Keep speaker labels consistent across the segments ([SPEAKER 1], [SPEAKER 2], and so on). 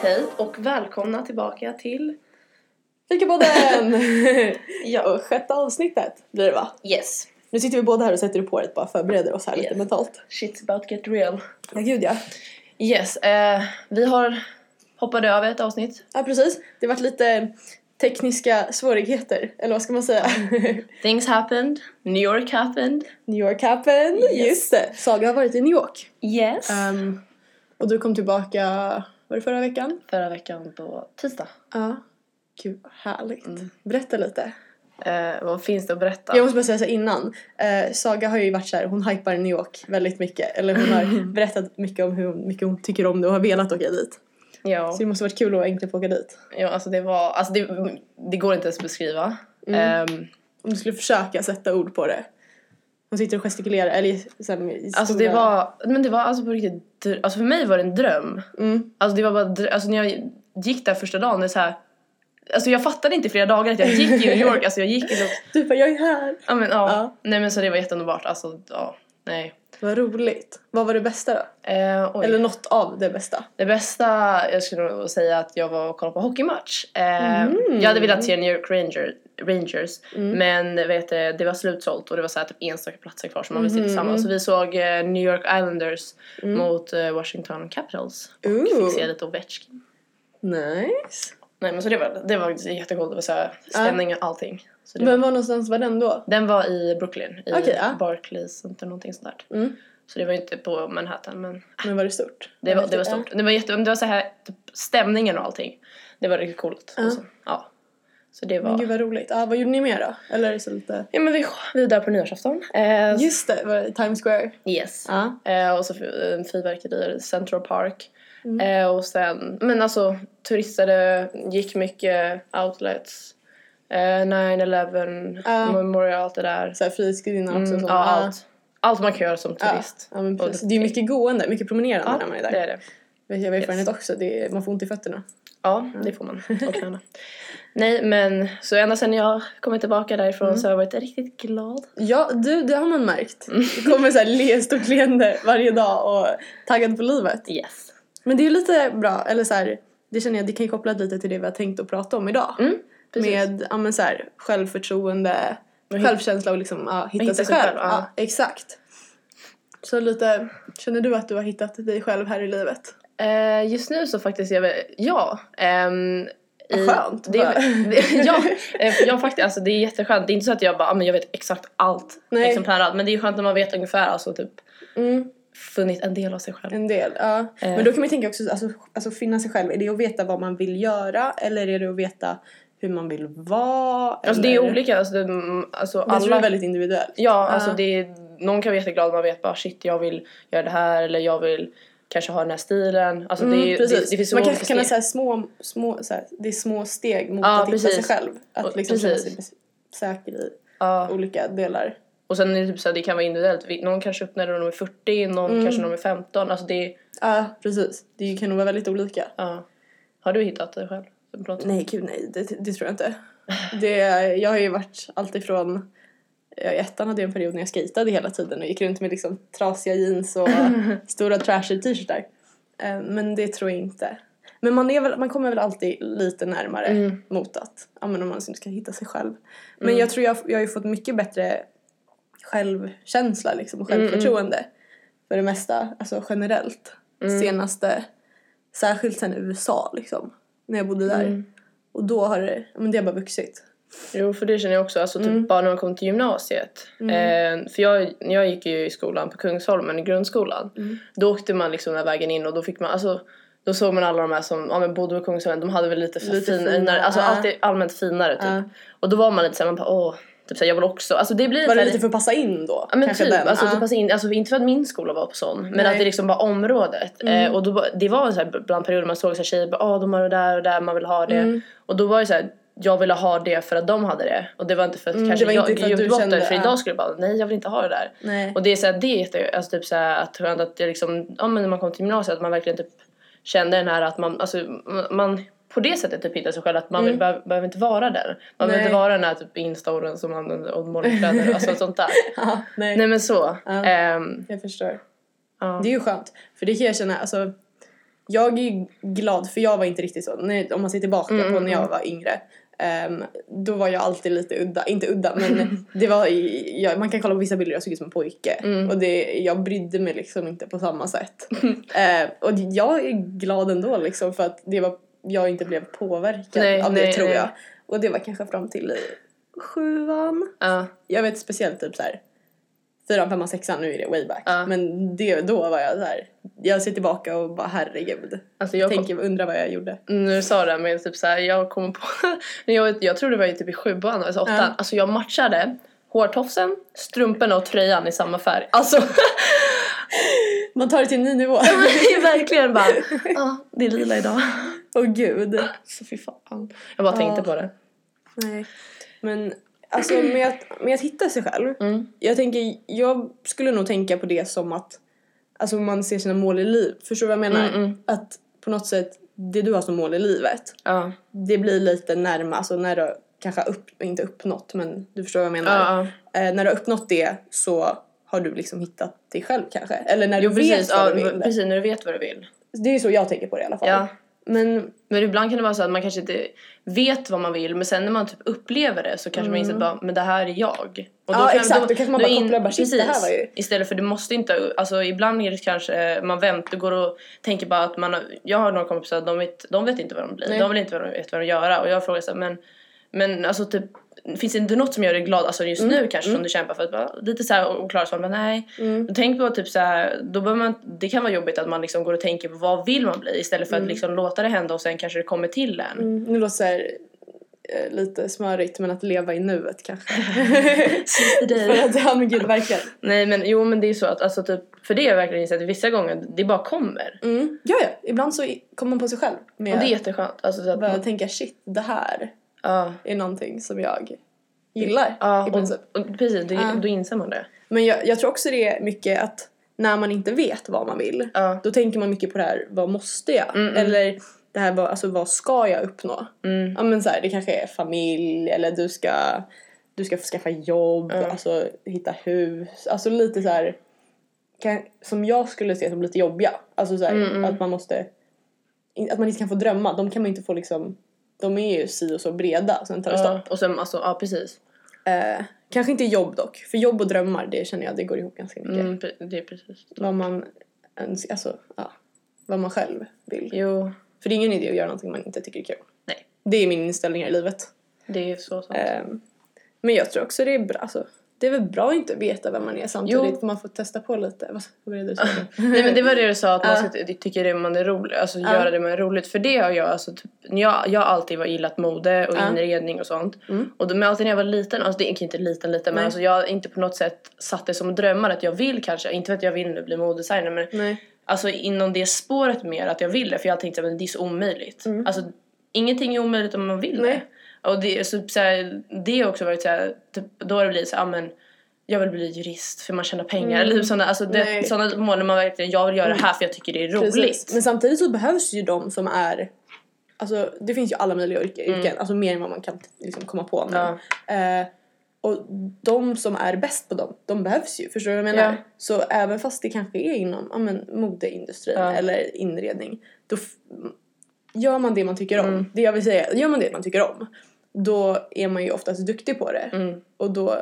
[SPEAKER 1] Hej och välkomna tillbaka till
[SPEAKER 2] Fikapodden!
[SPEAKER 1] Ja.
[SPEAKER 2] och sjätte avsnittet blir det va?
[SPEAKER 1] Yes.
[SPEAKER 2] Nu sitter vi båda här och sätter upp håret bara förbereder oss här lite
[SPEAKER 1] Yes.
[SPEAKER 2] mentalt.
[SPEAKER 1] Shit's about to get real.
[SPEAKER 2] Ja gud ja.
[SPEAKER 1] Yes, eh, vi har hoppade över ett avsnitt.
[SPEAKER 2] Ja precis, det vart lite tekniska svårigheter, eller vad ska man säga?
[SPEAKER 1] Things happened. New York happened.
[SPEAKER 2] New York happened!
[SPEAKER 1] Yes.
[SPEAKER 2] Just det! Saga har varit i New York.
[SPEAKER 1] Yes.
[SPEAKER 2] Ehm, och du kom tillbaka, var det förra veckan?
[SPEAKER 1] Förra veckan på tisdag.
[SPEAKER 2] Ja. Gud vad härligt.
[SPEAKER 1] Mm.
[SPEAKER 2] Berätta lite.
[SPEAKER 1] Eh, vad finns det att berätta?
[SPEAKER 2] Jag måste bara säga så här innan. Eh, Saga har ju varit så här, hon hypar New York väldigt mycket. Eller hon har berättat mycket om hur hon- mycket hon tycker om det och har velat åka dit.
[SPEAKER 1] Ja,
[SPEAKER 2] Så det måste varit kul att egentligen få åka dit.
[SPEAKER 1] ja alltså det var, alltså det, det går inte ens att beskriva.
[SPEAKER 2] Mm.
[SPEAKER 1] Ehm,
[SPEAKER 2] Om du skulle försöka sätta ord på det. Hon sitter och gestikulerar. Eller så här, med
[SPEAKER 1] alltså det
[SPEAKER 2] stora-
[SPEAKER 1] var, men det var alltså på riktigt, dr- alltså för mig var det en dröm.
[SPEAKER 2] Mm.
[SPEAKER 1] Alltså det var bara, dr- alltså när jag gick där första dagen, det är så här, alltså jag fattade inte i flera dagar att jag gick i New York, alltså jag gick i
[SPEAKER 2] Du Typ bara, jag är här.
[SPEAKER 1] Ja men ja.
[SPEAKER 2] Ja.
[SPEAKER 1] Nej men så det var jätteunderbart. Alltså ja. Nej.
[SPEAKER 2] Vad roligt. Vad var det bästa då?
[SPEAKER 1] Eh, oj.
[SPEAKER 2] Eller något av det bästa.
[SPEAKER 1] Det bästa, jag skulle nog säga att jag var och kollade på hockeymatch. Eh,
[SPEAKER 2] Mm.
[SPEAKER 1] Jag hade velat se New York Ranger, Rangers
[SPEAKER 2] Mm.
[SPEAKER 1] men vet du, det var slutsålt och det var så här typ enstaka platser kvar som man ville se
[SPEAKER 2] Mhm.
[SPEAKER 1] tillsammans. Så vi såg eh, New York Islanders
[SPEAKER 2] Mm.
[SPEAKER 1] mot eh, Washington Capitals och
[SPEAKER 2] Ooh.
[SPEAKER 1] fick se lite Ovechkin.
[SPEAKER 2] Nice.
[SPEAKER 1] Nej men så det var, det var jättecoolt, det var så här stämning och allting. Så det
[SPEAKER 2] Men
[SPEAKER 1] var, Ah.
[SPEAKER 2] var någonstans var den då?
[SPEAKER 1] den var i Brooklyn, i
[SPEAKER 2] Okej, ja.
[SPEAKER 1] Barclays Center någonting sånt där.
[SPEAKER 2] Mm.
[SPEAKER 1] Så det var ju inte på Manhattan men
[SPEAKER 2] Men var det stort? typ-
[SPEAKER 1] Det var, det var stort. Det var, jätte, det var så här, typ, stämningen och allting. Det var riktigt coolt.
[SPEAKER 2] Ja.
[SPEAKER 1] Och så, ja. så det
[SPEAKER 2] Men gud
[SPEAKER 1] var...
[SPEAKER 2] vad roligt. Ah, vad gjorde ni mer då? Eller är det så lite...
[SPEAKER 1] Ja, men vi, vi var där på nyårsafton. Eh,
[SPEAKER 2] Just det, var det Times Square.
[SPEAKER 1] Yes.
[SPEAKER 2] Ja.
[SPEAKER 1] Eh, och så f- eh, fyrverkerier i Central Park.
[SPEAKER 2] Mm.
[SPEAKER 1] Eh, och sen, men alltså turistade, gick mycket outlets. Eh, 9-11,
[SPEAKER 2] Ja.
[SPEAKER 1] Memorial, allt det där.
[SPEAKER 2] Såhär Frihetsgudinnan också.
[SPEAKER 1] Mm,
[SPEAKER 2] sån.
[SPEAKER 1] ja, allt. allt man kan göra som
[SPEAKER 2] Ja.
[SPEAKER 1] turist.
[SPEAKER 2] Ja, men precis. Det är ju mycket gående, mycket promenerande
[SPEAKER 1] Ja,
[SPEAKER 2] när man är där.
[SPEAKER 1] det är det.
[SPEAKER 2] Vet jag av erfarenhet
[SPEAKER 1] Yes.
[SPEAKER 2] också, det är, man får ont i fötterna.
[SPEAKER 1] Ja, Mm, det får man. Och knäna. Nej, men så ända sedan jag kom tillbaka därifrån
[SPEAKER 2] Mm.
[SPEAKER 1] så har jag varit riktigt glad.
[SPEAKER 2] Ja, du, det har man märkt. Det kommer så här le, stort leende varje dag och taggad på livet.
[SPEAKER 1] Yes.
[SPEAKER 2] Men det är ju lite bra, eller så här, det känner jag, det kan ju koppla lite till det vi har tänkt att prata om idag.
[SPEAKER 1] Mm, precis.
[SPEAKER 2] Med ja, men så här, självförtroende,
[SPEAKER 1] Och hit-
[SPEAKER 2] självkänsla och liksom, ja, hitta,
[SPEAKER 1] hitta
[SPEAKER 2] sig
[SPEAKER 1] sig
[SPEAKER 2] själv.
[SPEAKER 1] själv, ja.
[SPEAKER 2] Ja, exakt. Så lite, känner du att du har hittat dig själv här i livet?
[SPEAKER 1] Eh, just nu så faktiskt är jag väl- ja. ehm,
[SPEAKER 2] Vad
[SPEAKER 1] i-
[SPEAKER 2] skönt,
[SPEAKER 1] Det,
[SPEAKER 2] bara.
[SPEAKER 1] det, ja, eh, jag faktiskt, alltså det är jätteskönt. Det är inte så att jag bara, ah, men jag vet exakt allt.
[SPEAKER 2] Nej.
[SPEAKER 1] Liksom planerat. Men det är skönt när man vet ungefär, alltså typ funnit en del av sig själv.
[SPEAKER 2] En del, ja.
[SPEAKER 1] Eh.
[SPEAKER 2] Men då kan man ju tänka också, alltså, alltså finna sig själv. Är det att veta vad man vill göra eller är det att veta hur man vill vara?
[SPEAKER 1] Alltså det är
[SPEAKER 2] eller-
[SPEAKER 1] olika, alltså, det, mm, alltså
[SPEAKER 2] Jag tror det är
[SPEAKER 1] alla
[SPEAKER 2] väldigt individuellt.
[SPEAKER 1] Ja,
[SPEAKER 2] Ja.
[SPEAKER 1] alltså det är, någon kan vara jätteglad man vet bara shit jag vill göra det här eller jag vill kanske ha den här stilen. Alltså det, är ju-
[SPEAKER 2] Mm,
[SPEAKER 1] det,
[SPEAKER 2] precis.
[SPEAKER 1] det finns så
[SPEAKER 2] man
[SPEAKER 1] många
[SPEAKER 2] kanske kan ha
[SPEAKER 1] steg.
[SPEAKER 2] så här små, små, så här, det är små steg mot
[SPEAKER 1] Ja,
[SPEAKER 2] att hitta
[SPEAKER 1] precis.
[SPEAKER 2] sig själv. Att
[SPEAKER 1] Och-
[SPEAKER 2] liksom känna sig
[SPEAKER 1] precis.
[SPEAKER 2] säker i
[SPEAKER 1] Ja.
[SPEAKER 2] olika delar.
[SPEAKER 1] Och sen är det typ så här, det kan vara individuellt. Vi- Någon kanske uppnår det när de är 40, någon
[SPEAKER 2] Mm.
[SPEAKER 1] kanske när de är 15. Alltså det är,
[SPEAKER 2] Ja, precis. Det kan nog vara väldigt olika.
[SPEAKER 1] ja. Har du hittat dig själv? Som pratar?
[SPEAKER 2] Nej, gud nej. Det, det tror jag inte. Det, jag har ju varit alltifrån... ja, I ettan hade jag en period när jag skejtade hela tiden och gick runt med liksom trasiga jeans och stora trashy t-shirtar. Eh, Men det tror jag inte. Men man, är väl, man kommer väl alltid lite närmare
[SPEAKER 1] Mm.
[SPEAKER 2] mot att ja, men om man ska hitta sig själv. Men jag tror jag, jag har ju fått mycket bättre självkänsla liksom, och
[SPEAKER 1] Mm, mm.
[SPEAKER 2] självförtroende för det mesta, alltså generellt.
[SPEAKER 1] Mm.
[SPEAKER 2] Senaste, särskilt sen USA liksom, när jag bodde där.
[SPEAKER 1] Mm.
[SPEAKER 2] Och då har det, ja, men det har bara vuxit. typ.
[SPEAKER 1] Jo, för det känner jag också. Alltså typ
[SPEAKER 2] Mm.
[SPEAKER 1] bara när man kom till gymnasiet. Eh, för jag, jag gick ju i skolan på Kungsholmen, i grundskolan.
[SPEAKER 2] Mm.
[SPEAKER 1] Då åkte man liksom den här vägen in och då fick man, alltså då såg man alla de här som ja, men bodde på Kungsholmen, de hade väl lite, f-
[SPEAKER 2] Lite
[SPEAKER 1] finare,
[SPEAKER 2] finare,
[SPEAKER 1] alltså
[SPEAKER 2] ja.
[SPEAKER 1] alltid allmänt finare typ.
[SPEAKER 2] Ja.
[SPEAKER 1] Och då var man lite såhär, man bara åh, typ såhär, jag vill också. Alltså det blir
[SPEAKER 2] Var det
[SPEAKER 1] såhär-
[SPEAKER 2] lite för att passa in då?
[SPEAKER 1] Ja men
[SPEAKER 2] Kanske
[SPEAKER 1] typ,
[SPEAKER 2] den,
[SPEAKER 1] alltså,
[SPEAKER 2] ja.
[SPEAKER 1] typ passa in, alltså inte för att min skola var på sån men
[SPEAKER 2] Nej.
[SPEAKER 1] att det liksom var området.
[SPEAKER 2] Mm.
[SPEAKER 1] Eh, och då, var- det var så här bland perioder man såg så här tjejer bara ah, de har det där och där, man vill ha det.
[SPEAKER 2] Mm.
[SPEAKER 1] Och då var det så här, jag ville ha det för att de hade det. Och det var inte för att
[SPEAKER 2] Mm,
[SPEAKER 1] kanske
[SPEAKER 2] det var
[SPEAKER 1] jag
[SPEAKER 2] inte för att
[SPEAKER 1] gjort
[SPEAKER 2] du
[SPEAKER 1] bort det
[SPEAKER 2] kände,
[SPEAKER 1] för
[SPEAKER 2] ja.
[SPEAKER 1] idag skulle jag bara nej jag vill inte ha det där.
[SPEAKER 2] Nej.
[SPEAKER 1] Och det är så här, det är jätte, alltså typ så här, att skönt att det liksom, ja men när man kom till gymnasiet att man verkligen typ kände den här att man, alltså man- man på det sättet typ hittar sig själv att man vill, behöver, behöver inte vara där. Man behöver
[SPEAKER 2] Mm. Nej.
[SPEAKER 1] inte vara den här typ instorren som använder och morgonkläder, alltså sånt där.
[SPEAKER 2] Ja, nej.
[SPEAKER 1] Nej men så.
[SPEAKER 2] Ja.
[SPEAKER 1] Ehm,
[SPEAKER 2] Jag förstår.
[SPEAKER 1] ja.
[SPEAKER 2] Det är ju skönt. För det kan jag känna, alltså jag är ju glad för jag var inte riktigt så. Nej, om man ser tillbaka
[SPEAKER 1] Mm,
[SPEAKER 2] på
[SPEAKER 1] mm,
[SPEAKER 2] när jag var yngre. ehm, då var jag alltid lite udda, inte udda men det var, i- jag, man kan kolla på vissa bilder jag såg ut som en pojke
[SPEAKER 1] Mm.
[SPEAKER 2] och det, jag brydde mig liksom inte på samma sätt. Ehm, och jag är glad ändå liksom för att det var, jag inte blev påverkad
[SPEAKER 1] Nej,
[SPEAKER 2] av det
[SPEAKER 1] nej,
[SPEAKER 2] tror
[SPEAKER 1] nej.
[SPEAKER 2] jag. Och det var kanske fram till i sjuan.
[SPEAKER 1] Ja,
[SPEAKER 2] Jag vet speciellt typ så här. Fyran, femman, sexan, nu är det way back.
[SPEAKER 1] Ja.
[SPEAKER 2] Men det, då var jag så här. Jag ser tillbaka och bara herregud.
[SPEAKER 1] alltså jag kom,
[SPEAKER 2] Tänker, undrar vad jag gjorde.
[SPEAKER 1] när du sa det här med typ så här, jag kommer på, när jag, jag tror det var ju typ i sjuan, alltså åttan,
[SPEAKER 2] Ja.
[SPEAKER 1] alltså jag matchade hårtofsen, strumporna och tröjan i samma färg. Alltså
[SPEAKER 2] Man tar det till en ny nivå.
[SPEAKER 1] verkligen bara, ja det är lila idag.
[SPEAKER 2] Åh gud.
[SPEAKER 1] Så fy fan. Jag bara tänkte
[SPEAKER 2] Ja.
[SPEAKER 1] på det.
[SPEAKER 2] Nej. Men alltså med att, med att hitta sig själv.
[SPEAKER 1] Mm.
[SPEAKER 2] Jag tänker, jag skulle nog tänka på det som att alltså man ser sina mål i liv. Förstår du vad jag menar?
[SPEAKER 1] Mm, mm.
[SPEAKER 2] Att på något sätt, det du har som mål i livet.
[SPEAKER 1] Ja.
[SPEAKER 2] Det blir lite närmare, alltså när du kanske har upp, inte uppnått men du förstår vad jag menar.
[SPEAKER 1] Ja, ja.
[SPEAKER 2] Eh, när du har uppnått det så har du liksom hittat dig själv kanske. Eller när du
[SPEAKER 1] Jo precis,
[SPEAKER 2] vet vad
[SPEAKER 1] ja,
[SPEAKER 2] du vill.
[SPEAKER 1] precis när du vet vad du vill.
[SPEAKER 2] Det är ju så jag tänker på det i alla fall.
[SPEAKER 1] Ja.
[SPEAKER 2] Men
[SPEAKER 1] Men ibland kan det vara så att man kanske inte vet vad man vill men sen när man typ upplever det så kanske man inser att bara, men det här är jag. Och
[SPEAKER 2] Mm. Ja, exakt. Då kanske man bara kopplar bara, shit, det här var ju-
[SPEAKER 1] Istället för du måste inte, alltså ibland är det kanske eh, man väntar, går och tänker bara att man har, jag har några kompisar, de vet, de vet inte vad de blir,
[SPEAKER 2] Nej.
[SPEAKER 1] de vill inte vad de vet vad de gör och jag frågar så här, men, men alltså typ Finns det inte något som gör dig glad, alltså just
[SPEAKER 2] Mm,
[SPEAKER 1] nu kanske som du kämpar för? Att bara, lite såhär oklara svar, men nej. Tänk på typ såhär, då behöver man, det kan vara jobbigt att man liksom går och tänker på vad vill man bli istället för att liksom låta det hända och sen kanske det kommer till en.
[SPEAKER 2] mm, nu låter det så här, eh, lite smörigt men att leva i nuet kanske. För att, ja men gud verkligen.
[SPEAKER 1] Nej men jo men det är ju så att alltså typ, för det har jag verkligen insett att vissa gånger det bara kommer.
[SPEAKER 2] Mm. Ja, ja. Ibland så i- kommer man på sig själv med
[SPEAKER 1] Och det är jätteskönt. Alltså så att
[SPEAKER 2] att börja
[SPEAKER 1] man,
[SPEAKER 2] tänka shit, det här
[SPEAKER 1] ja.
[SPEAKER 2] är någonting som jag gillar
[SPEAKER 1] Ja,
[SPEAKER 2] i princip.
[SPEAKER 1] och, och precis, det,
[SPEAKER 2] Ja.
[SPEAKER 1] då inser man det.
[SPEAKER 2] Men jag, jag tror också det är mycket att när man inte vet vad man vill
[SPEAKER 1] Ja.
[SPEAKER 2] då tänker man mycket på det här, vad måste jag?
[SPEAKER 1] Mm, mm.
[SPEAKER 2] Eller det här, vad, alltså, vad ska jag uppnå?
[SPEAKER 1] Mm.
[SPEAKER 2] Ja men så här, det kanske är familj eller du ska, du ska skaffa jobb,
[SPEAKER 1] Ja.
[SPEAKER 2] alltså hitta hus, alltså lite så här kan, som jag skulle se som lite jobbiga. Alltså så här,
[SPEAKER 1] Mm, mm.
[SPEAKER 2] att man måste, in- att man inte kan få drömma, de kan man inte få liksom, de är ju si och så breda sen tar det stopp.
[SPEAKER 1] Ja. Och sen alltså, ja precis.
[SPEAKER 2] Eh, kanske inte jobb dock, för jobb och drömmar det känner jag det går ihop ganska mycket.
[SPEAKER 1] Mm, pre- det är precis.
[SPEAKER 2] Vad man önskar, alltså ja, vad man själv vill.
[SPEAKER 1] Jo,
[SPEAKER 2] För det är ingen idé att göra någonting man inte tycker är kul.
[SPEAKER 1] Nej.
[SPEAKER 2] Det är min inställning här i livet.
[SPEAKER 1] det är så sant.
[SPEAKER 2] Ehm, men jag tror också det är bra, alltså, det är väl bra att inte veta vem man är samtidigt.
[SPEAKER 1] Jo.
[SPEAKER 2] för Man får testa på lite. Vad vad är det du sa?
[SPEAKER 1] Nej men det var det du sa att man
[SPEAKER 2] Ja.
[SPEAKER 1] ska ty- tycka det man är roligt, alltså
[SPEAKER 2] Ja.
[SPEAKER 1] göra det man är roligt för det har jag alltså typ, när jag, jag har alltid var gillat mode och
[SPEAKER 2] Ja.
[SPEAKER 1] inredning och sånt
[SPEAKER 2] Mm.
[SPEAKER 1] och då, men alltid när jag var liten, alltså det är inte liten liten men
[SPEAKER 2] Nej.
[SPEAKER 1] alltså jag har inte på något sätt satt det som drömmar att jag vill kanske, inte för att jag vill nu bli modedesigner men
[SPEAKER 2] Nej.
[SPEAKER 1] alltså inom det spåret mer att jag vill det för jag tänkte att det är så omöjligt. Alltså ingenting är omöjligt om man vill
[SPEAKER 2] Mm. Nej.
[SPEAKER 1] det. Och det, är så, så här, det har också varit så här, typ, då har det blivit så här, ah, men jag vill bli jurist för man tjänar pengar. Eller typ sådana, alltså det,
[SPEAKER 2] Mm. Nej.
[SPEAKER 1] sådana mål när man verkligen, jag vill göra det här för jag tycker det är roligt.
[SPEAKER 2] Precis. Men samtidigt så behövs ju de som är Alltså det finns ju alla möjliga yrke-
[SPEAKER 1] Mm.
[SPEAKER 2] yrken, alltså mer än vad man kan liksom, komma på. Men, eh, och de som är bäst på dem, de behövs ju. Förstår du vad jag menar?
[SPEAKER 1] Ja.
[SPEAKER 2] Så även fast det kanske är inom ja, men, modeindustrin
[SPEAKER 1] Ja.
[SPEAKER 2] eller inredning, då f- gör man det man tycker om.
[SPEAKER 1] Mm.
[SPEAKER 2] Det jag vill säga, gör man det man tycker om, då är man ju oftast duktig på det.
[SPEAKER 1] Mm.
[SPEAKER 2] Och då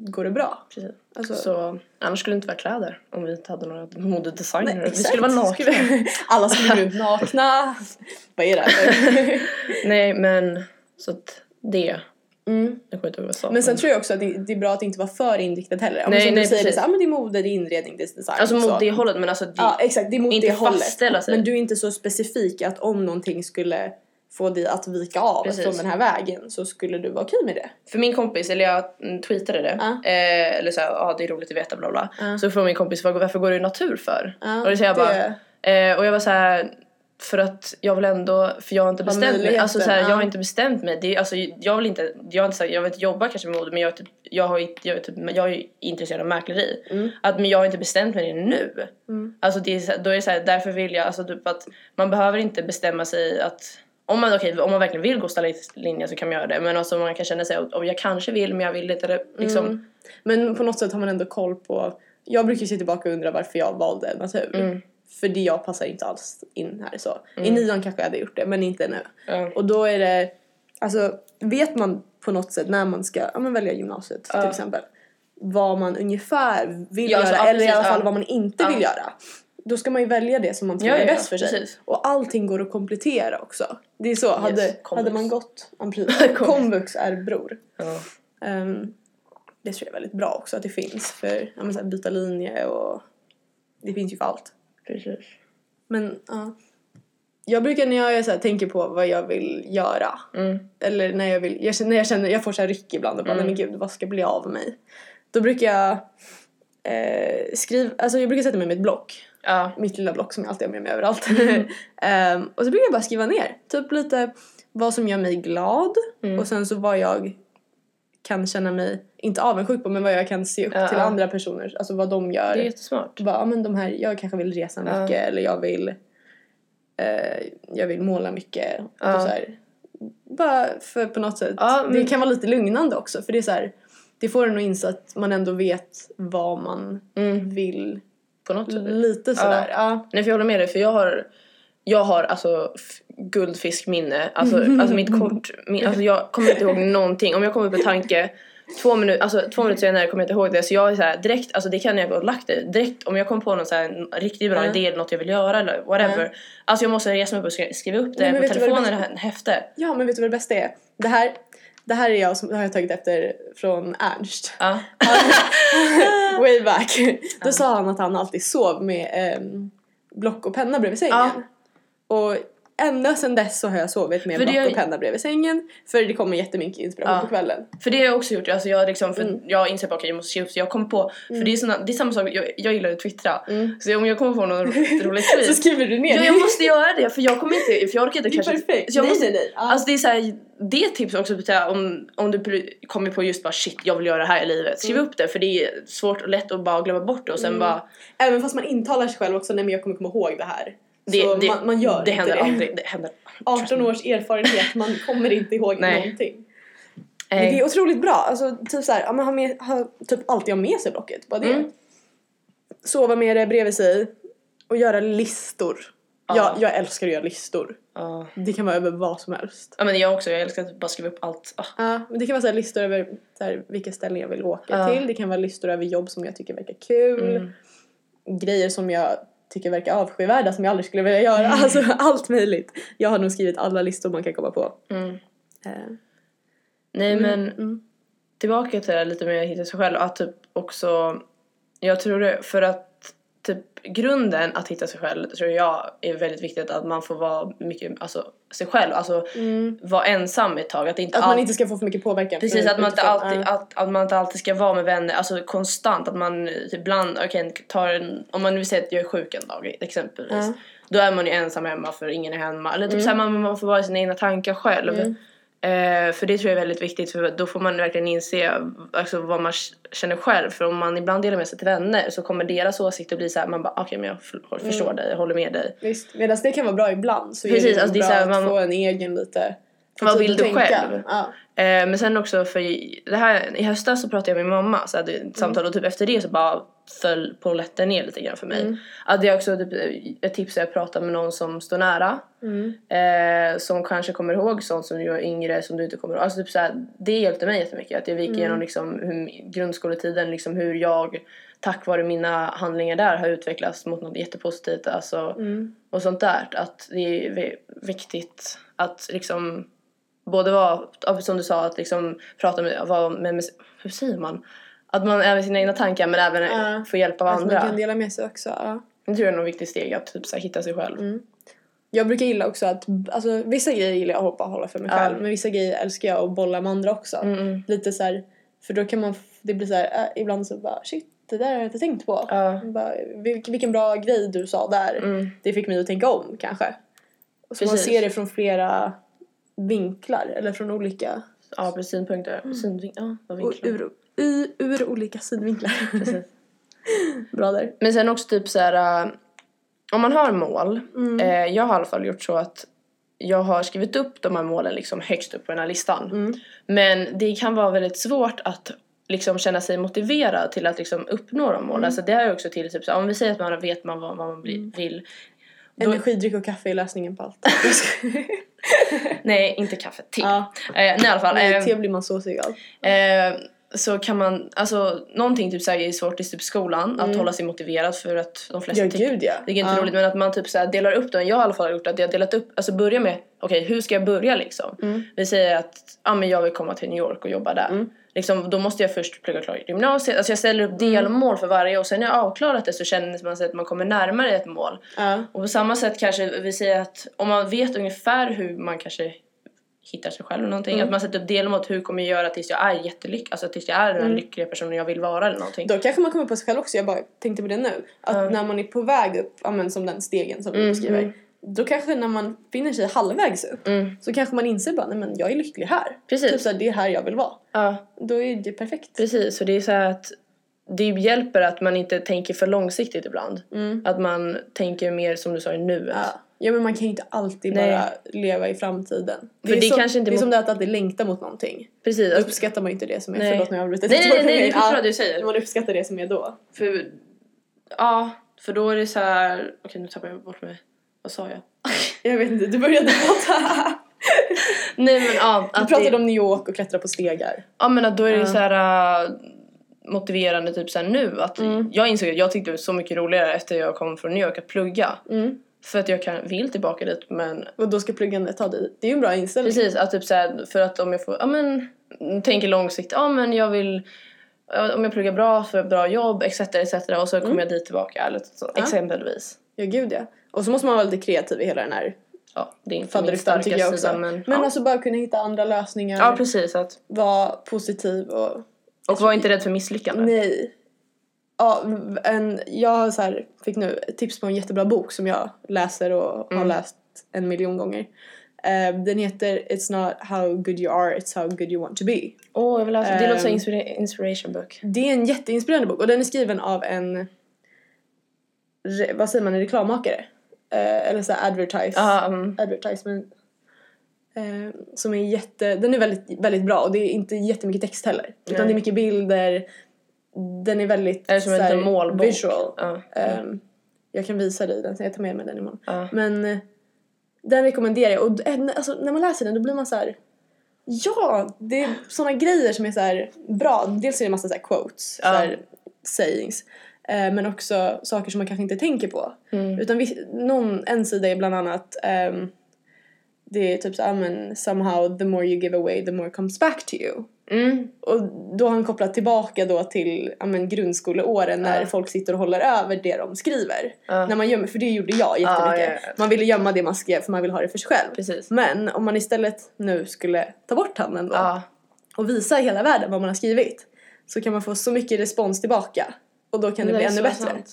[SPEAKER 2] går det bra.
[SPEAKER 1] Precis.
[SPEAKER 2] Alltså,
[SPEAKER 1] Så annars skulle det inte vara kläder om vi inte hade några modedesigner.
[SPEAKER 2] Nej,
[SPEAKER 1] vi
[SPEAKER 2] exakt.
[SPEAKER 1] skulle vara nakna.
[SPEAKER 2] Skulle- Alla skulle gå runt nakna. Vad är det här för?
[SPEAKER 1] Nej men så att det,
[SPEAKER 2] Mm.
[SPEAKER 1] jag kommer inte ihåg vad jag sa.
[SPEAKER 2] Men sen tror jag också att det, det är bra att inte vara för inriktad heller. Om
[SPEAKER 1] Nej,
[SPEAKER 2] som
[SPEAKER 1] nej,
[SPEAKER 2] du säger, det är,
[SPEAKER 1] precis.
[SPEAKER 2] så, här, ah, men det är mode, det är inredning, det är design.
[SPEAKER 1] alltså
[SPEAKER 2] så.
[SPEAKER 1] mot det hållet men alltså det,
[SPEAKER 2] Ja, exakt. Det är mot
[SPEAKER 1] inte alltså.
[SPEAKER 2] det hållet.
[SPEAKER 1] fastställa sig.
[SPEAKER 2] Men du är inte så specifik att om någonting skulle få dig att vika av
[SPEAKER 1] Precis.
[SPEAKER 2] från den här vägen så skulle du vara okej med det.
[SPEAKER 1] För min kompis, eller jag mm, tweetade det,
[SPEAKER 2] Ja.
[SPEAKER 1] eh, eller såhär, ja ah, det är roligt att veta bla bla.
[SPEAKER 2] Ja.
[SPEAKER 1] Så frågade min kompis, "Var- varför går du i natur för?
[SPEAKER 2] Ja,
[SPEAKER 1] och det säger jag
[SPEAKER 2] det-
[SPEAKER 1] bara, eh, och jag var så här. för att jag vill ändå, för jag har inte bestämt mig.
[SPEAKER 2] möjligheten,
[SPEAKER 1] Alltså såhär,
[SPEAKER 2] ja.
[SPEAKER 1] jag har inte bestämt mig. Det är, alltså, jag vill inte, jag har inte sagt, jag vill inte jobba kanske med mode men jag, är typ, jag, har, inte- jag, är typ, jag är intresserad av mäkleri.
[SPEAKER 2] Mm.
[SPEAKER 1] Att, men jag har inte bestämt mig nu.
[SPEAKER 2] Mm.
[SPEAKER 1] Alltså det är, så- då är det såhär, därför vill jag, alltså typ att man behöver inte bestämma sig att om man, okej, om man verkligen vill gå stylistlinjen så kan man göra det. Men alltså man kan känna sig att om jag kanske vill men jag vill inte. Eller, liksom,
[SPEAKER 2] Men på något sätt har man ändå koll på... Jag brukar ju se tillbaka och undra varför jag valde natur. För det jag passar inte alls in här så. I
[SPEAKER 1] Mm.
[SPEAKER 2] nian kanske jag hade gjort det men inte nu.
[SPEAKER 1] Ja.
[SPEAKER 2] Och då är det, alltså vet man på något sätt när man ska ja, men välja gymnasiet till
[SPEAKER 1] Ja.
[SPEAKER 2] exempel. Vad man ungefär
[SPEAKER 1] Ja,
[SPEAKER 2] vill göra
[SPEAKER 1] alltså, ja,
[SPEAKER 2] eller i alla
[SPEAKER 1] precis, ja.
[SPEAKER 2] fall vad man inte
[SPEAKER 1] Ja.
[SPEAKER 2] vill göra. Då ska man ju välja det som man tror
[SPEAKER 1] Ja,
[SPEAKER 2] är
[SPEAKER 1] ja, ja,
[SPEAKER 2] bäst för sig.
[SPEAKER 1] precis.
[SPEAKER 2] Och allting går att komplettera också. Det är så, hade, hade
[SPEAKER 1] komvux.
[SPEAKER 2] man gått, ja, precis.
[SPEAKER 1] Komvux.
[SPEAKER 2] komvux är bror.
[SPEAKER 1] Ja.
[SPEAKER 2] Ehm, det tror jag är väldigt bra också att det finns för ja, men så här, byta linje och det finns ju för allt.
[SPEAKER 1] Precis.
[SPEAKER 2] Men ja. Jag brukar när jag är så här, tänker på vad jag vill göra
[SPEAKER 1] Mm.
[SPEAKER 2] eller när jag vill, jag, känner- när jag känner, jag får så här ryck ibland och bara
[SPEAKER 1] Mm.
[SPEAKER 2] nej men gud vad ska bli av mig? Då brukar jag eh, skriva, alltså jag brukar sätta mig med ett block,
[SPEAKER 1] Ja.
[SPEAKER 2] mitt lilla block som jag alltid har med mig överallt.
[SPEAKER 1] Mm.
[SPEAKER 2] Ehm, och så brukar jag bara skriva ner, typ lite vad som gör mig glad
[SPEAKER 1] Mm.
[SPEAKER 2] och sen så vad jag kan känna mig, inte avundsjuk på men vad jag kan se upp
[SPEAKER 1] Ja,
[SPEAKER 2] till
[SPEAKER 1] ja.
[SPEAKER 2] andra personer, alltså vad de
[SPEAKER 1] Det
[SPEAKER 2] gör.
[SPEAKER 1] är jättesmart.
[SPEAKER 2] Bara, ja, men de här, jag kanske vill resa
[SPEAKER 1] Ja.
[SPEAKER 2] mycket eller jag vill, eh, jag vill måla mycket.
[SPEAKER 1] Ja.
[SPEAKER 2] Och så här, bara för på något sätt.
[SPEAKER 1] Ja, men-
[SPEAKER 2] Det kan vara lite lugnande också för det är så här, det får en att inse att man ändå vet vad man
[SPEAKER 1] Mm.
[SPEAKER 2] vill.
[SPEAKER 1] På något sätt.
[SPEAKER 2] Lite sådär. Ja.
[SPEAKER 1] Nej för jag håller med dig för jag har jag har alltså f- guldfiskminne, alltså, alltså mitt kort, min, alltså jag kommer inte ihåg någonting. Om jag kommer på tanke två, minut, alltså, två minuter senare kommer jag inte ihåg det. Så jag är så här, direkt, alltså det kan jag gå och lagt det. Direkt om jag kom på någon så här, n- riktigt bra
[SPEAKER 2] Ja.
[SPEAKER 1] idé eller något jag vill göra eller whatever.
[SPEAKER 2] Ja.
[SPEAKER 1] Alltså jag måste resa mig upp och skri- skriva upp det
[SPEAKER 2] Nej, men
[SPEAKER 1] på
[SPEAKER 2] vet du vad det
[SPEAKER 1] telefonen eller
[SPEAKER 2] bästa-
[SPEAKER 1] hä- häfte.
[SPEAKER 2] ja men vet du vad det bästa är? Det här, det här är jag som det har jag tagit efter från Ernst.
[SPEAKER 1] Ja.
[SPEAKER 2] Way back. Då sa han att han alltid sov med ehm, block och penna bredvid sängen.
[SPEAKER 1] Ja.
[SPEAKER 2] Och ända sedan dess så har jag sovit med
[SPEAKER 1] För det
[SPEAKER 2] block
[SPEAKER 1] är-
[SPEAKER 2] och penna bredvid sängen. För det kommer jättemycket inspiration
[SPEAKER 1] Ja.
[SPEAKER 2] på kvällen.
[SPEAKER 1] För det har jag också gjort, alltså jag har liksom, för
[SPEAKER 2] Mm.
[SPEAKER 1] jag har insett att jag måste skriva upp så jag kom på, för det, är såna, det är samma sak, jag, jag gillar att twittra.
[SPEAKER 2] Mm.
[SPEAKER 1] Så om jag kommer på någon rolig
[SPEAKER 2] Så
[SPEAKER 1] tweet
[SPEAKER 2] skriver du ner
[SPEAKER 1] Ja, jag måste göra det för jag kommer inte, för jag orkar inte
[SPEAKER 2] det. är
[SPEAKER 1] kanske.
[SPEAKER 2] perfekt.
[SPEAKER 1] Så jag måste,
[SPEAKER 2] nej, nej. Ja.
[SPEAKER 1] Alltså det är så här, det tipset också, typ så här, om, om du pl- kommer på just bara shit jag vill göra det här i livet, skriv upp det för det är svårt och lätt att bara glömma bort det och sen
[SPEAKER 2] Mm.
[SPEAKER 1] bara
[SPEAKER 2] Även fast man intalar sig själv också, nej men jag kommer komma ihåg det här.
[SPEAKER 1] det,
[SPEAKER 2] så
[SPEAKER 1] det,
[SPEAKER 2] man, man gör
[SPEAKER 1] det
[SPEAKER 2] inte
[SPEAKER 1] händer
[SPEAKER 2] det.
[SPEAKER 1] aldrig, det händer
[SPEAKER 2] 18 års erfarenhet, man kommer inte ihåg
[SPEAKER 1] Nej.
[SPEAKER 2] någonting. Men det
[SPEAKER 1] eh,
[SPEAKER 2] är otroligt bra. Alltså typ såhär, ja, man har, med, har typ alltid ha med sig blocket. Bara det.
[SPEAKER 1] Mm.
[SPEAKER 2] Sova med det bredvid sig. Och göra listor.
[SPEAKER 1] Ja.
[SPEAKER 2] Jag, jag älskar att göra listor.
[SPEAKER 1] ja.
[SPEAKER 2] Det kan vara över vad som helst.
[SPEAKER 1] ja men jag också, jag älskar att bara skriva upp allt. Ah,
[SPEAKER 2] Ja, men det kan vara så här listor över så här, vilka ställen jag vill åka
[SPEAKER 1] Ja.
[SPEAKER 2] till. Det kan vara listor över jobb som jag tycker verkar kul.
[SPEAKER 1] Mm.
[SPEAKER 2] Grejer som jag tycker verkar avskyvärda som jag aldrig skulle vilja göra.
[SPEAKER 1] Mm.
[SPEAKER 2] Alltså allt möjligt. Jag har nog skrivit alla listor man kan komma på.
[SPEAKER 1] Mm.
[SPEAKER 2] Eh,
[SPEAKER 1] Nej men
[SPEAKER 2] mm.
[SPEAKER 1] tillbaka till det här lite mer hitta sig själv. Att typ också, jag tror det, för att typ grunden att hitta sig själv tror jag är väldigt viktigt att man får vara mycket, alltså sig själv, alltså
[SPEAKER 2] Mm.
[SPEAKER 1] vara ensam ett tag. Att, inte
[SPEAKER 2] Att man
[SPEAKER 1] allt-
[SPEAKER 2] inte ska få för mycket påverkan.
[SPEAKER 1] Precis,
[SPEAKER 2] från
[SPEAKER 1] att man, inte
[SPEAKER 2] utifrån.
[SPEAKER 1] alltid,
[SPEAKER 2] Ja.
[SPEAKER 1] att, att man inte alltid ska vara med vänner, alltså konstant. Att man ibland, okej, tar en, om man vill säga att jag är sjuk en dag exempelvis.
[SPEAKER 2] Ja.
[SPEAKER 1] Då är man ju ensam hemma för ingen är hemma. Eller typ
[SPEAKER 2] Mm.
[SPEAKER 1] så här, man, man får vara i sina egna tankar själv.
[SPEAKER 2] Mm.
[SPEAKER 1] Eh, för det tror jag är väldigt viktigt för då får man verkligen inse alltså, vad man k- känner själv. För om man ibland delar med sig till vänner så kommer deras åsikter bli så här, man bara okej men jag f- förstår
[SPEAKER 2] Mm.
[SPEAKER 1] dig, jag håller med dig.
[SPEAKER 2] Visst, medan det kan vara bra ibland så
[SPEAKER 1] Precis,
[SPEAKER 2] är det,
[SPEAKER 1] alltså det är
[SPEAKER 2] bra
[SPEAKER 1] så här,
[SPEAKER 2] att
[SPEAKER 1] man-
[SPEAKER 2] få en egen lite...
[SPEAKER 1] Vad vill
[SPEAKER 2] tid att
[SPEAKER 1] du
[SPEAKER 2] tänka.
[SPEAKER 1] själv?
[SPEAKER 2] Ja.
[SPEAKER 1] Eh, men sen också för i- det här, i höstas så pratade jag med min mamma så hade
[SPEAKER 2] Mm.
[SPEAKER 1] vi ett samtal och typ efter det så bara föll polletten ner lite grann för mig.
[SPEAKER 2] Mm.
[SPEAKER 1] Att det är också typ ett tips är att prata med någon som står nära.
[SPEAKER 2] Mm.
[SPEAKER 1] Eh, som kanske kommer ihåg sånt som du var yngre som du inte kommer ihåg. Alltså typ så här, det hjälpte mig jättemycket. Att jag gick
[SPEAKER 2] Mm.
[SPEAKER 1] igenom liksom hur, grundskoletiden, liksom hur jag tack vare mina handlingar där har utvecklats mot något jättepositivt. Alltså,
[SPEAKER 2] Mm.
[SPEAKER 1] och sånt där. Att det är vi- viktigt att liksom både vara, ja, som du sa, att liksom prata med, vara med, med hur säger man? Att man är med sina egna tankar men även
[SPEAKER 2] Ja.
[SPEAKER 1] få hjälp av
[SPEAKER 2] Att alltså man
[SPEAKER 1] andra.
[SPEAKER 2] kan dela med sig också. Ja.
[SPEAKER 1] Det tror jag är något viktigt steg att typ så här, hitta sig själv.
[SPEAKER 2] Mm. Jag brukar gilla också att... Alltså, vissa grejer gillar jag att bara hålla för mig
[SPEAKER 1] Ja.
[SPEAKER 2] själv. Men vissa grejer älskar jag att bolla med andra också.
[SPEAKER 1] Mm. Mm.
[SPEAKER 2] Lite så här, För då kan man... f- Det blir så här, äh, ibland så bara shit, det där har jag inte tänkt på.
[SPEAKER 1] Ja.
[SPEAKER 2] Bara, vilken, vilken bra grej du sa där.
[SPEAKER 1] Mm.
[SPEAKER 2] Det fick mig att tänka om kanske. Och så man
[SPEAKER 1] Precis.
[SPEAKER 2] ser det från flera vinklar eller från olika
[SPEAKER 1] Ja, precis. Synpunkter. Synvin- ja, vad
[SPEAKER 2] Mm. Och
[SPEAKER 1] vinklar.
[SPEAKER 2] ur, i, ur olika synvinklar.
[SPEAKER 1] Precis.
[SPEAKER 2] Bra där.
[SPEAKER 1] Men sen också typ så här. äh, om man har mål.
[SPEAKER 2] Mm.
[SPEAKER 1] Eh, jag har i alla fall gjort så att jag har skrivit
[SPEAKER 2] Mm.
[SPEAKER 1] upp de här målen liksom högst upp på den här listan. Men det kan vara väldigt svårt att liksom känna sig motiverad till att liksom uppnå de målen.
[SPEAKER 2] Mm.
[SPEAKER 1] Så det är ju också till typ så här, om vi säger att man vet man vad, vad man blir,
[SPEAKER 2] Mm.
[SPEAKER 1] vill. Då,
[SPEAKER 2] Energidryck och kaffe är lösningen på allt.
[SPEAKER 1] nej, inte kaffe, te.
[SPEAKER 2] ja,
[SPEAKER 1] Eh, nej i alla fall.
[SPEAKER 2] nej,
[SPEAKER 1] eh,
[SPEAKER 2] te blir man såsig av.
[SPEAKER 1] Eh, så kan man, alltså någonting typ såhär är svårt i typ skolan att
[SPEAKER 2] Mm.
[SPEAKER 1] hålla sig motiverad för att de flesta
[SPEAKER 2] Ja,
[SPEAKER 1] tycker
[SPEAKER 2] gud ja.
[SPEAKER 1] det är inte
[SPEAKER 2] ja.
[SPEAKER 1] roligt men att man typ såhär delar upp den. Jag har i alla fall gjort att jag har delat upp, alltså börja med okej hur ska jag börja liksom?
[SPEAKER 2] Mm.
[SPEAKER 1] Vi säger att ja men jag vill komma till New York och jobba där.
[SPEAKER 2] Mm.
[SPEAKER 1] Liksom, då måste jag först plugga klart gymnasiet. Alltså jag ställer upp delmål för varje och sen när jag avklarat det så känner man sig att man kommer närmare ett mål.
[SPEAKER 2] Ja.
[SPEAKER 1] Och på samma sätt kanske vi säger att om man vet ungefär hur man kanske hittar sig själv eller någonting.
[SPEAKER 2] Mm.
[SPEAKER 1] Att man sätter upp delmål, hur kommer jag göra tills jag är jättelycklig, alltså tills jag är den
[SPEAKER 2] Mm.
[SPEAKER 1] lyckliga personen jag vill vara eller någonting.
[SPEAKER 2] Då kanske man kommer på sig själv också, jag bara tänkte på det nu. Att
[SPEAKER 1] Ja.
[SPEAKER 2] när man är på väg upp, ja, men som den stegen som
[SPEAKER 1] Mm,
[SPEAKER 2] du beskriver.
[SPEAKER 1] mm.
[SPEAKER 2] Då kanske när man finner sig halvvägs upp
[SPEAKER 1] Mm.
[SPEAKER 2] så kanske man inser bara nej men jag är lycklig här.
[SPEAKER 1] Precis.
[SPEAKER 2] Typ såhär, det är här jag vill vara.
[SPEAKER 1] Ja,
[SPEAKER 2] Då är det perfekt.
[SPEAKER 1] precis. Så det är så här att det hjälper att man inte tänker för långsiktigt ibland.
[SPEAKER 2] Mm.
[SPEAKER 1] Att man tänker mer som du sa i nuet.
[SPEAKER 2] Ja. ja men man kan ju inte alltid
[SPEAKER 1] Nej.
[SPEAKER 2] bara leva i framtiden. Det
[SPEAKER 1] För
[SPEAKER 2] är,
[SPEAKER 1] det
[SPEAKER 2] som,
[SPEAKER 1] kanske inte
[SPEAKER 2] det är
[SPEAKER 1] mot-
[SPEAKER 2] som det att alltid längta mot någonting.
[SPEAKER 1] Precis.
[SPEAKER 2] Då
[SPEAKER 1] Alltså,
[SPEAKER 2] uppskattar man ju inte det som är.
[SPEAKER 1] Nej.
[SPEAKER 2] Förlåt nu har jag avbrutit.
[SPEAKER 1] nej, nej, nej, nej, jag
[SPEAKER 2] Ja.
[SPEAKER 1] förstår vad du säger.
[SPEAKER 2] Man uppskattar det som är då.
[SPEAKER 1] För, ja, för då är det så här... Okej, nu tappar jag bort mig. Vad sa jag?
[SPEAKER 2] Jag vet inte, du började prata.
[SPEAKER 1] Nej, men ja.
[SPEAKER 2] Du
[SPEAKER 1] att
[SPEAKER 2] pratade
[SPEAKER 1] det-
[SPEAKER 2] om New York och klättra på stegar.
[SPEAKER 1] Ja men att då är det
[SPEAKER 2] Ja.
[SPEAKER 1] så här äh, motiverande typ så här nu att
[SPEAKER 2] Mm.
[SPEAKER 1] jag insåg att jag tyckte det var så mycket roligare efter jag kom från New York att plugga för att jag kan, vill tillbaka dit men
[SPEAKER 2] Och då ska pluggandet ta dig Det är ju en bra inställning.
[SPEAKER 1] precis att typ så här, för att om jag får ja men tänker långsiktigt ja men jag vill ja, om jag pluggar bra för ett bra jobb etc etc och så kommer jag dit tillbaka eller så,
[SPEAKER 2] Mm. Ja.
[SPEAKER 1] exempelvis
[SPEAKER 2] Ja, gud ja. Och så måste man vara lite kreativ i hela den här
[SPEAKER 1] ja det är inte min
[SPEAKER 2] fadderuttan tycker jag
[SPEAKER 1] starka
[SPEAKER 2] också.
[SPEAKER 1] sida men,
[SPEAKER 2] men
[SPEAKER 1] ja.
[SPEAKER 2] alltså bara kunna hitta andra lösningar.
[SPEAKER 1] ja precis att
[SPEAKER 2] vara positiv och...
[SPEAKER 1] och var inte rädd för misslyckande
[SPEAKER 2] Nej. Ja, en, jag så här, fick nu ett tips på en jättebra bok som jag läser och har
[SPEAKER 1] Mm.
[SPEAKER 2] läst en miljon gånger. Eh, den heter It's not how good you are, it's how good you want to be.
[SPEAKER 1] åh jag vill läsa det låter som
[SPEAKER 2] Ehm.
[SPEAKER 1] inspira- inspiration book
[SPEAKER 2] Det är en jätteinspirerande bok och den är skriven av en, re, vad säger man, en reklammakare? Eh, eller så här advertise,
[SPEAKER 1] ja um,
[SPEAKER 2] advertisement. Eh, som är jätte, den är väldigt, väldigt bra och det är inte jättemycket text heller. Utan
[SPEAKER 1] Nej.
[SPEAKER 2] det är mycket bilder, den är väldigt
[SPEAKER 1] är det som
[SPEAKER 2] så
[SPEAKER 1] en
[SPEAKER 2] här
[SPEAKER 1] liten målbok
[SPEAKER 2] visual.
[SPEAKER 1] ja.
[SPEAKER 2] Eh, jag kan visa dig den, så jag tar med mig den imorgon.
[SPEAKER 1] ja.
[SPEAKER 2] Men eh, den rekommenderar jag och eh, alltså, när man läser den då blir man så här. Ja, det är såna grejer som är så här bra. Dels är det en massa så här quotes,
[SPEAKER 1] Ja.
[SPEAKER 2] så här sayings. Eh, men också saker som man kanske inte tänker på.
[SPEAKER 1] Mm.
[SPEAKER 2] Utan viss, någon, en sida är bland annat ehm, det är typ så här, men somehow the more you give away the more comes back to you.
[SPEAKER 1] Mm.
[SPEAKER 2] Och då har han kopplat tillbaka då till ja, men, grundskoleåren när
[SPEAKER 1] Ja.
[SPEAKER 2] folk sitter och håller över det de skriver.
[SPEAKER 1] Ja.
[SPEAKER 2] När man gömmer, för det gjorde jag jättemycket.
[SPEAKER 1] Ja, ja, ja.
[SPEAKER 2] Man ville gömma det man skrev för man ville ha det för sig själv.
[SPEAKER 1] Precis.
[SPEAKER 2] Men om man istället nu skulle ta bort handen då
[SPEAKER 1] Ja.
[SPEAKER 2] och visa hela världen vad man har skrivit så kan man få så mycket respons tillbaka och då kan det,
[SPEAKER 1] är
[SPEAKER 2] bli ännu
[SPEAKER 1] så
[SPEAKER 2] bättre.
[SPEAKER 1] sant.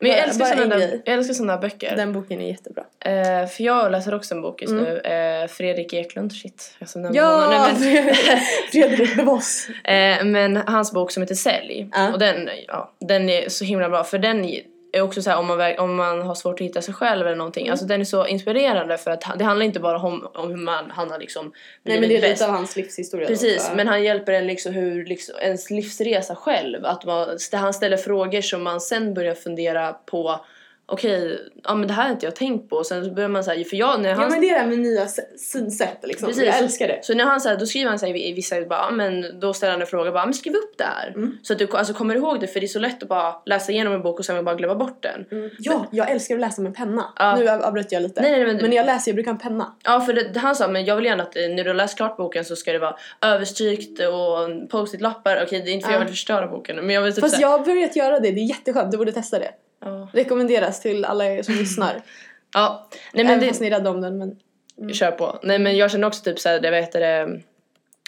[SPEAKER 1] Men jag
[SPEAKER 2] Bara-
[SPEAKER 1] älskar,
[SPEAKER 2] bara
[SPEAKER 1] såna
[SPEAKER 2] en
[SPEAKER 1] där,
[SPEAKER 2] grej.
[SPEAKER 1] jag älskar såna där böcker.
[SPEAKER 2] Den boken är jättebra.
[SPEAKER 1] Eh, för jag läser också en bok just nu. Eh, Fredrik Eklund, shit. Jag som nämnde
[SPEAKER 2] Mm. Ja!
[SPEAKER 1] honom. Nej,
[SPEAKER 2] Fredrik Bevås.
[SPEAKER 1] men, eh, men hans bok som heter Sälj.
[SPEAKER 2] Ja.
[SPEAKER 1] Och den, ja, den är så himla bra. För den är också så här om man, verk- om man har svårt att hitta sig själv eller
[SPEAKER 2] Mm.
[SPEAKER 1] någonting. Alltså den är så inspirerande för att han- det handlar inte bara om, om hur man, han har liksom
[SPEAKER 2] Nej men det är
[SPEAKER 1] blivit
[SPEAKER 2] lite av hans livshistoria. då,
[SPEAKER 1] Precis,
[SPEAKER 2] så-
[SPEAKER 1] men han hjälper en liksom hur liksom, ens livsresa själv. Att man, han ställer frågor som man sen börjar fundera på. Okej, ja men det här har inte jag tänkt på. Och sen så börjar man säga, för jag när han...
[SPEAKER 2] Ja men det är det här med nya s- synsätt liksom.
[SPEAKER 1] Precis.
[SPEAKER 2] Jag älskar det.
[SPEAKER 1] Så när han säger då skriver han så här, i vissa bara, ja, men då ställer han en fråga bara, men skriv upp det här.
[SPEAKER 2] Mm.
[SPEAKER 1] Så att du alltså, kommer ihåg det, för det är så lätt att bara läsa igenom en bok och sen bara glömma bort den.
[SPEAKER 2] Ja, jag älskar att läsa med penna.
[SPEAKER 1] Mm. Ja.
[SPEAKER 2] Nu av- avbröt jag lite.
[SPEAKER 1] Nej, nej, men-
[SPEAKER 2] men när jag läser, jag brukar ha en penna.
[SPEAKER 1] Ja, för det, han sa, men jag vill gärna att eh, när du har läst klart boken så ska det vara överstrykt och post-it-lappar. Okej, det är inte för jag
[SPEAKER 2] Ja.
[SPEAKER 1] vill förstöra boken, men jag vill typ
[SPEAKER 2] Fast
[SPEAKER 1] så här-
[SPEAKER 2] jag har börjat göra det, det är jätteskönt. Du borde testa det.
[SPEAKER 1] Ja.
[SPEAKER 2] Rekommenderas till alla er som lyssnar.
[SPEAKER 1] ja. Nej, men
[SPEAKER 2] Även
[SPEAKER 1] det,
[SPEAKER 2] fast ni är rädda om den. Men...
[SPEAKER 1] Mm. kör på. Nej men jag känner också typ såhär, det vet det,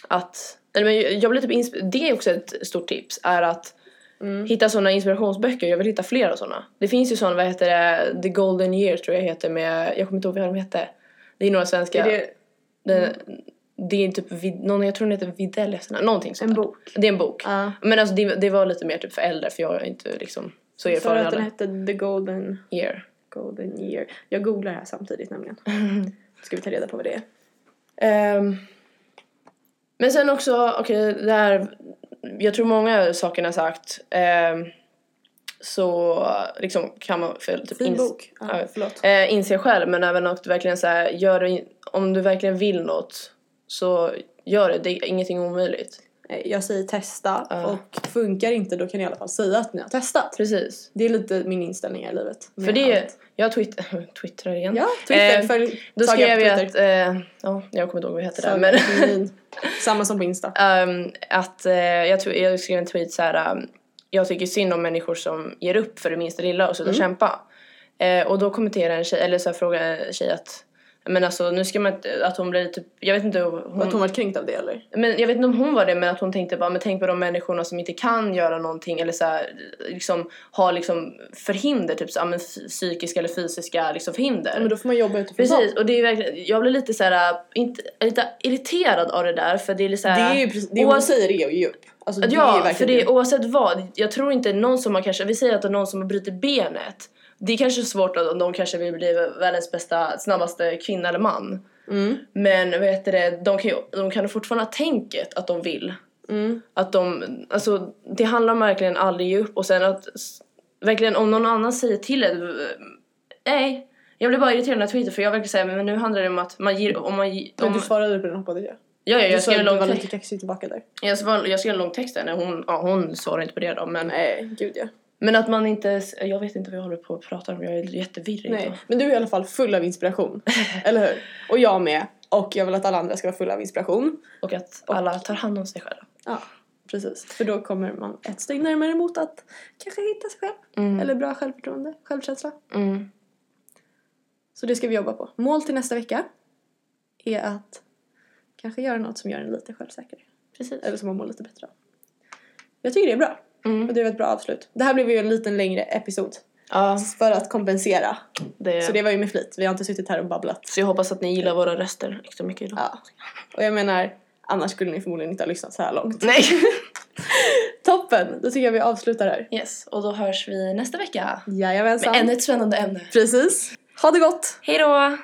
[SPEAKER 1] att, eller men jag blir typ insp- det är också ett stort tips, är att
[SPEAKER 2] Mm.
[SPEAKER 1] hitta sådana inspirationsböcker, jag vill hitta flera sådana. Det finns ju sådana, vad heter det, The Golden Year tror jag heter med, jag kommer inte ihåg vad de hette. Det är några svenska,
[SPEAKER 2] Är det
[SPEAKER 1] det, det är typ, vid, någon, jag tror den heter Videll, efternamn, någonting sånt
[SPEAKER 2] en
[SPEAKER 1] där.
[SPEAKER 2] bok? Ah.
[SPEAKER 1] Det är en bok.
[SPEAKER 2] Ja.
[SPEAKER 1] Men alltså det, det var lite mer typ för äldre för jag är inte liksom så
[SPEAKER 2] Sa du
[SPEAKER 1] erfaren
[SPEAKER 2] att den
[SPEAKER 1] heller.
[SPEAKER 2] hette The Golden,
[SPEAKER 1] Year.
[SPEAKER 2] Golden Year? Jag googlar här samtidigt nämligen. Ska vi ta reda på vad det är?
[SPEAKER 1] Ehm, men sen också, okej, det här jag tror många saker jag sagt ehm, så liksom kan man för, typ
[SPEAKER 2] Fin
[SPEAKER 1] ins-
[SPEAKER 2] bok. Ja,
[SPEAKER 1] ja.
[SPEAKER 2] förlåt.
[SPEAKER 1] eh, inse själv men även att verkligen så här, gör det, in- om du verkligen vill något så gör det, det är ingenting omöjligt.
[SPEAKER 2] Eh, Jag säger testa
[SPEAKER 1] Ja.
[SPEAKER 2] och funkar inte då kan ni i alla fall säga att ni har testat.
[SPEAKER 1] Precis.
[SPEAKER 2] Det är lite min inställning här i livet.
[SPEAKER 1] För
[SPEAKER 2] med
[SPEAKER 1] det,
[SPEAKER 2] allt.
[SPEAKER 1] jag twitt twittrar igen.
[SPEAKER 2] Ja, Twitter.
[SPEAKER 1] Eh,
[SPEAKER 2] följ
[SPEAKER 1] Då
[SPEAKER 2] Saga
[SPEAKER 1] skrev
[SPEAKER 2] på
[SPEAKER 1] jag
[SPEAKER 2] Twitter.
[SPEAKER 1] att, eh, ja jag kommer inte ihåg vad jag heter där
[SPEAKER 2] Saga
[SPEAKER 1] men
[SPEAKER 2] Lundin. Samma som på Insta.
[SPEAKER 1] Ehm, att eh, jag, tw- jag skrev en tweet så här. ehm, jag tycker synd om människor som ger upp för det minsta lilla och slutar
[SPEAKER 2] Mm.
[SPEAKER 1] kämpa. Eh, och då kommenterade en tjej, eller så här frågade en tjej att men alltså nu ska man inte, att hon blir typ, jag vet inte hur
[SPEAKER 2] Har
[SPEAKER 1] hon,
[SPEAKER 2] hon varit kränkt av det eller?
[SPEAKER 1] men jag vet inte om hon var det men att hon tänkte bara men tänk på de människorna som inte kan göra någonting eller så här, liksom har liksom förhinder typ så, ja, men, f- psykiska eller fysiska liksom förhinder.
[SPEAKER 2] Ja, men då får man jobba utifrån
[SPEAKER 1] Precis och det är verkligen, jag blir lite så här, äh, inte, lite irriterad av det där för det är lite så
[SPEAKER 2] Det,
[SPEAKER 1] här,
[SPEAKER 2] är ju, precis- det hon
[SPEAKER 1] oavsett-
[SPEAKER 2] säger är ju djup. Alltså, det är ju
[SPEAKER 1] Eh, Ja,
[SPEAKER 2] verkligen
[SPEAKER 1] för det
[SPEAKER 2] djup.
[SPEAKER 1] är oavsett vad. Jag tror inte någon som har kanske, vi säger att det är någon som har brutit benet. Det är kanske svårt att- om de kanske vill bli världens bästa, snabbaste kvinna eller man.
[SPEAKER 2] Mm.
[SPEAKER 1] Men vet du det, de kan ju de kan ju fortfarande ha tänket att de vill.
[SPEAKER 2] Mm.
[SPEAKER 1] Att de, alltså det handlar om verkligen aldrig ge upp och sen att s- verkligen om någon annan säger till en eh, nej. Jag blir bara irriterad när jag tweetar för jag verkar säga men nu handlar det om att man ger, om man ge-
[SPEAKER 2] Men
[SPEAKER 1] om,
[SPEAKER 2] du svarade på den hoppades jag.
[SPEAKER 1] ja, ja,
[SPEAKER 2] Du
[SPEAKER 1] jag
[SPEAKER 2] sa
[SPEAKER 1] skrev
[SPEAKER 2] att
[SPEAKER 1] en
[SPEAKER 2] du
[SPEAKER 1] lång,
[SPEAKER 2] var
[SPEAKER 1] te-
[SPEAKER 2] lite kaxig tillbaka där.
[SPEAKER 1] jag skrev- jag skrev en lång text där när hon, ja hon svarade inte på det då men
[SPEAKER 2] Nej, gud ja.
[SPEAKER 1] Men att man inte, jag vet inte vad jag håller på att prata om, jag är jättevirrig
[SPEAKER 2] Nej.
[SPEAKER 1] idag.
[SPEAKER 2] Men du är i alla fall full av inspiration. eller hur? Och jag med. Och jag vill att alla andra ska vara fulla av inspiration.
[SPEAKER 1] Och att alla tar hand om sig själva.
[SPEAKER 2] Ja, precis. För då kommer man ett steg närmare mot att kanske hitta sig själv.
[SPEAKER 1] Mm.
[SPEAKER 2] Eller bra självförtroende, självkänsla.
[SPEAKER 1] Mm.
[SPEAKER 2] Så det ska vi jobba på. Mål till nästa vecka är att kanske göra något som gör en lite självsäkrare.
[SPEAKER 1] Precis.
[SPEAKER 2] Eller som man mår lite bättre av. Jag tycker det är bra.
[SPEAKER 1] Mm.
[SPEAKER 2] Och det var ett bra avslut. Det här blev ju en liten längre episod.
[SPEAKER 1] Ja,
[SPEAKER 2] För att kompensera.
[SPEAKER 1] det.
[SPEAKER 2] Så det var ju med flit. Vi har inte suttit här och babblat.
[SPEAKER 1] så jag hoppas att ni gillar våra röster extra mycket idag.
[SPEAKER 2] Ja. Och jag menar, annars skulle ni förmodligen inte ha lyssnat så här långt.
[SPEAKER 1] Nej!
[SPEAKER 2] Toppen! Då tycker jag vi avslutar här.
[SPEAKER 1] Yes, och då hörs vi nästa vecka. Med
[SPEAKER 2] Jajamensan.
[SPEAKER 1] ännu ett spännande ämne.
[SPEAKER 2] Precis. Ha det gott!
[SPEAKER 1] Hej då!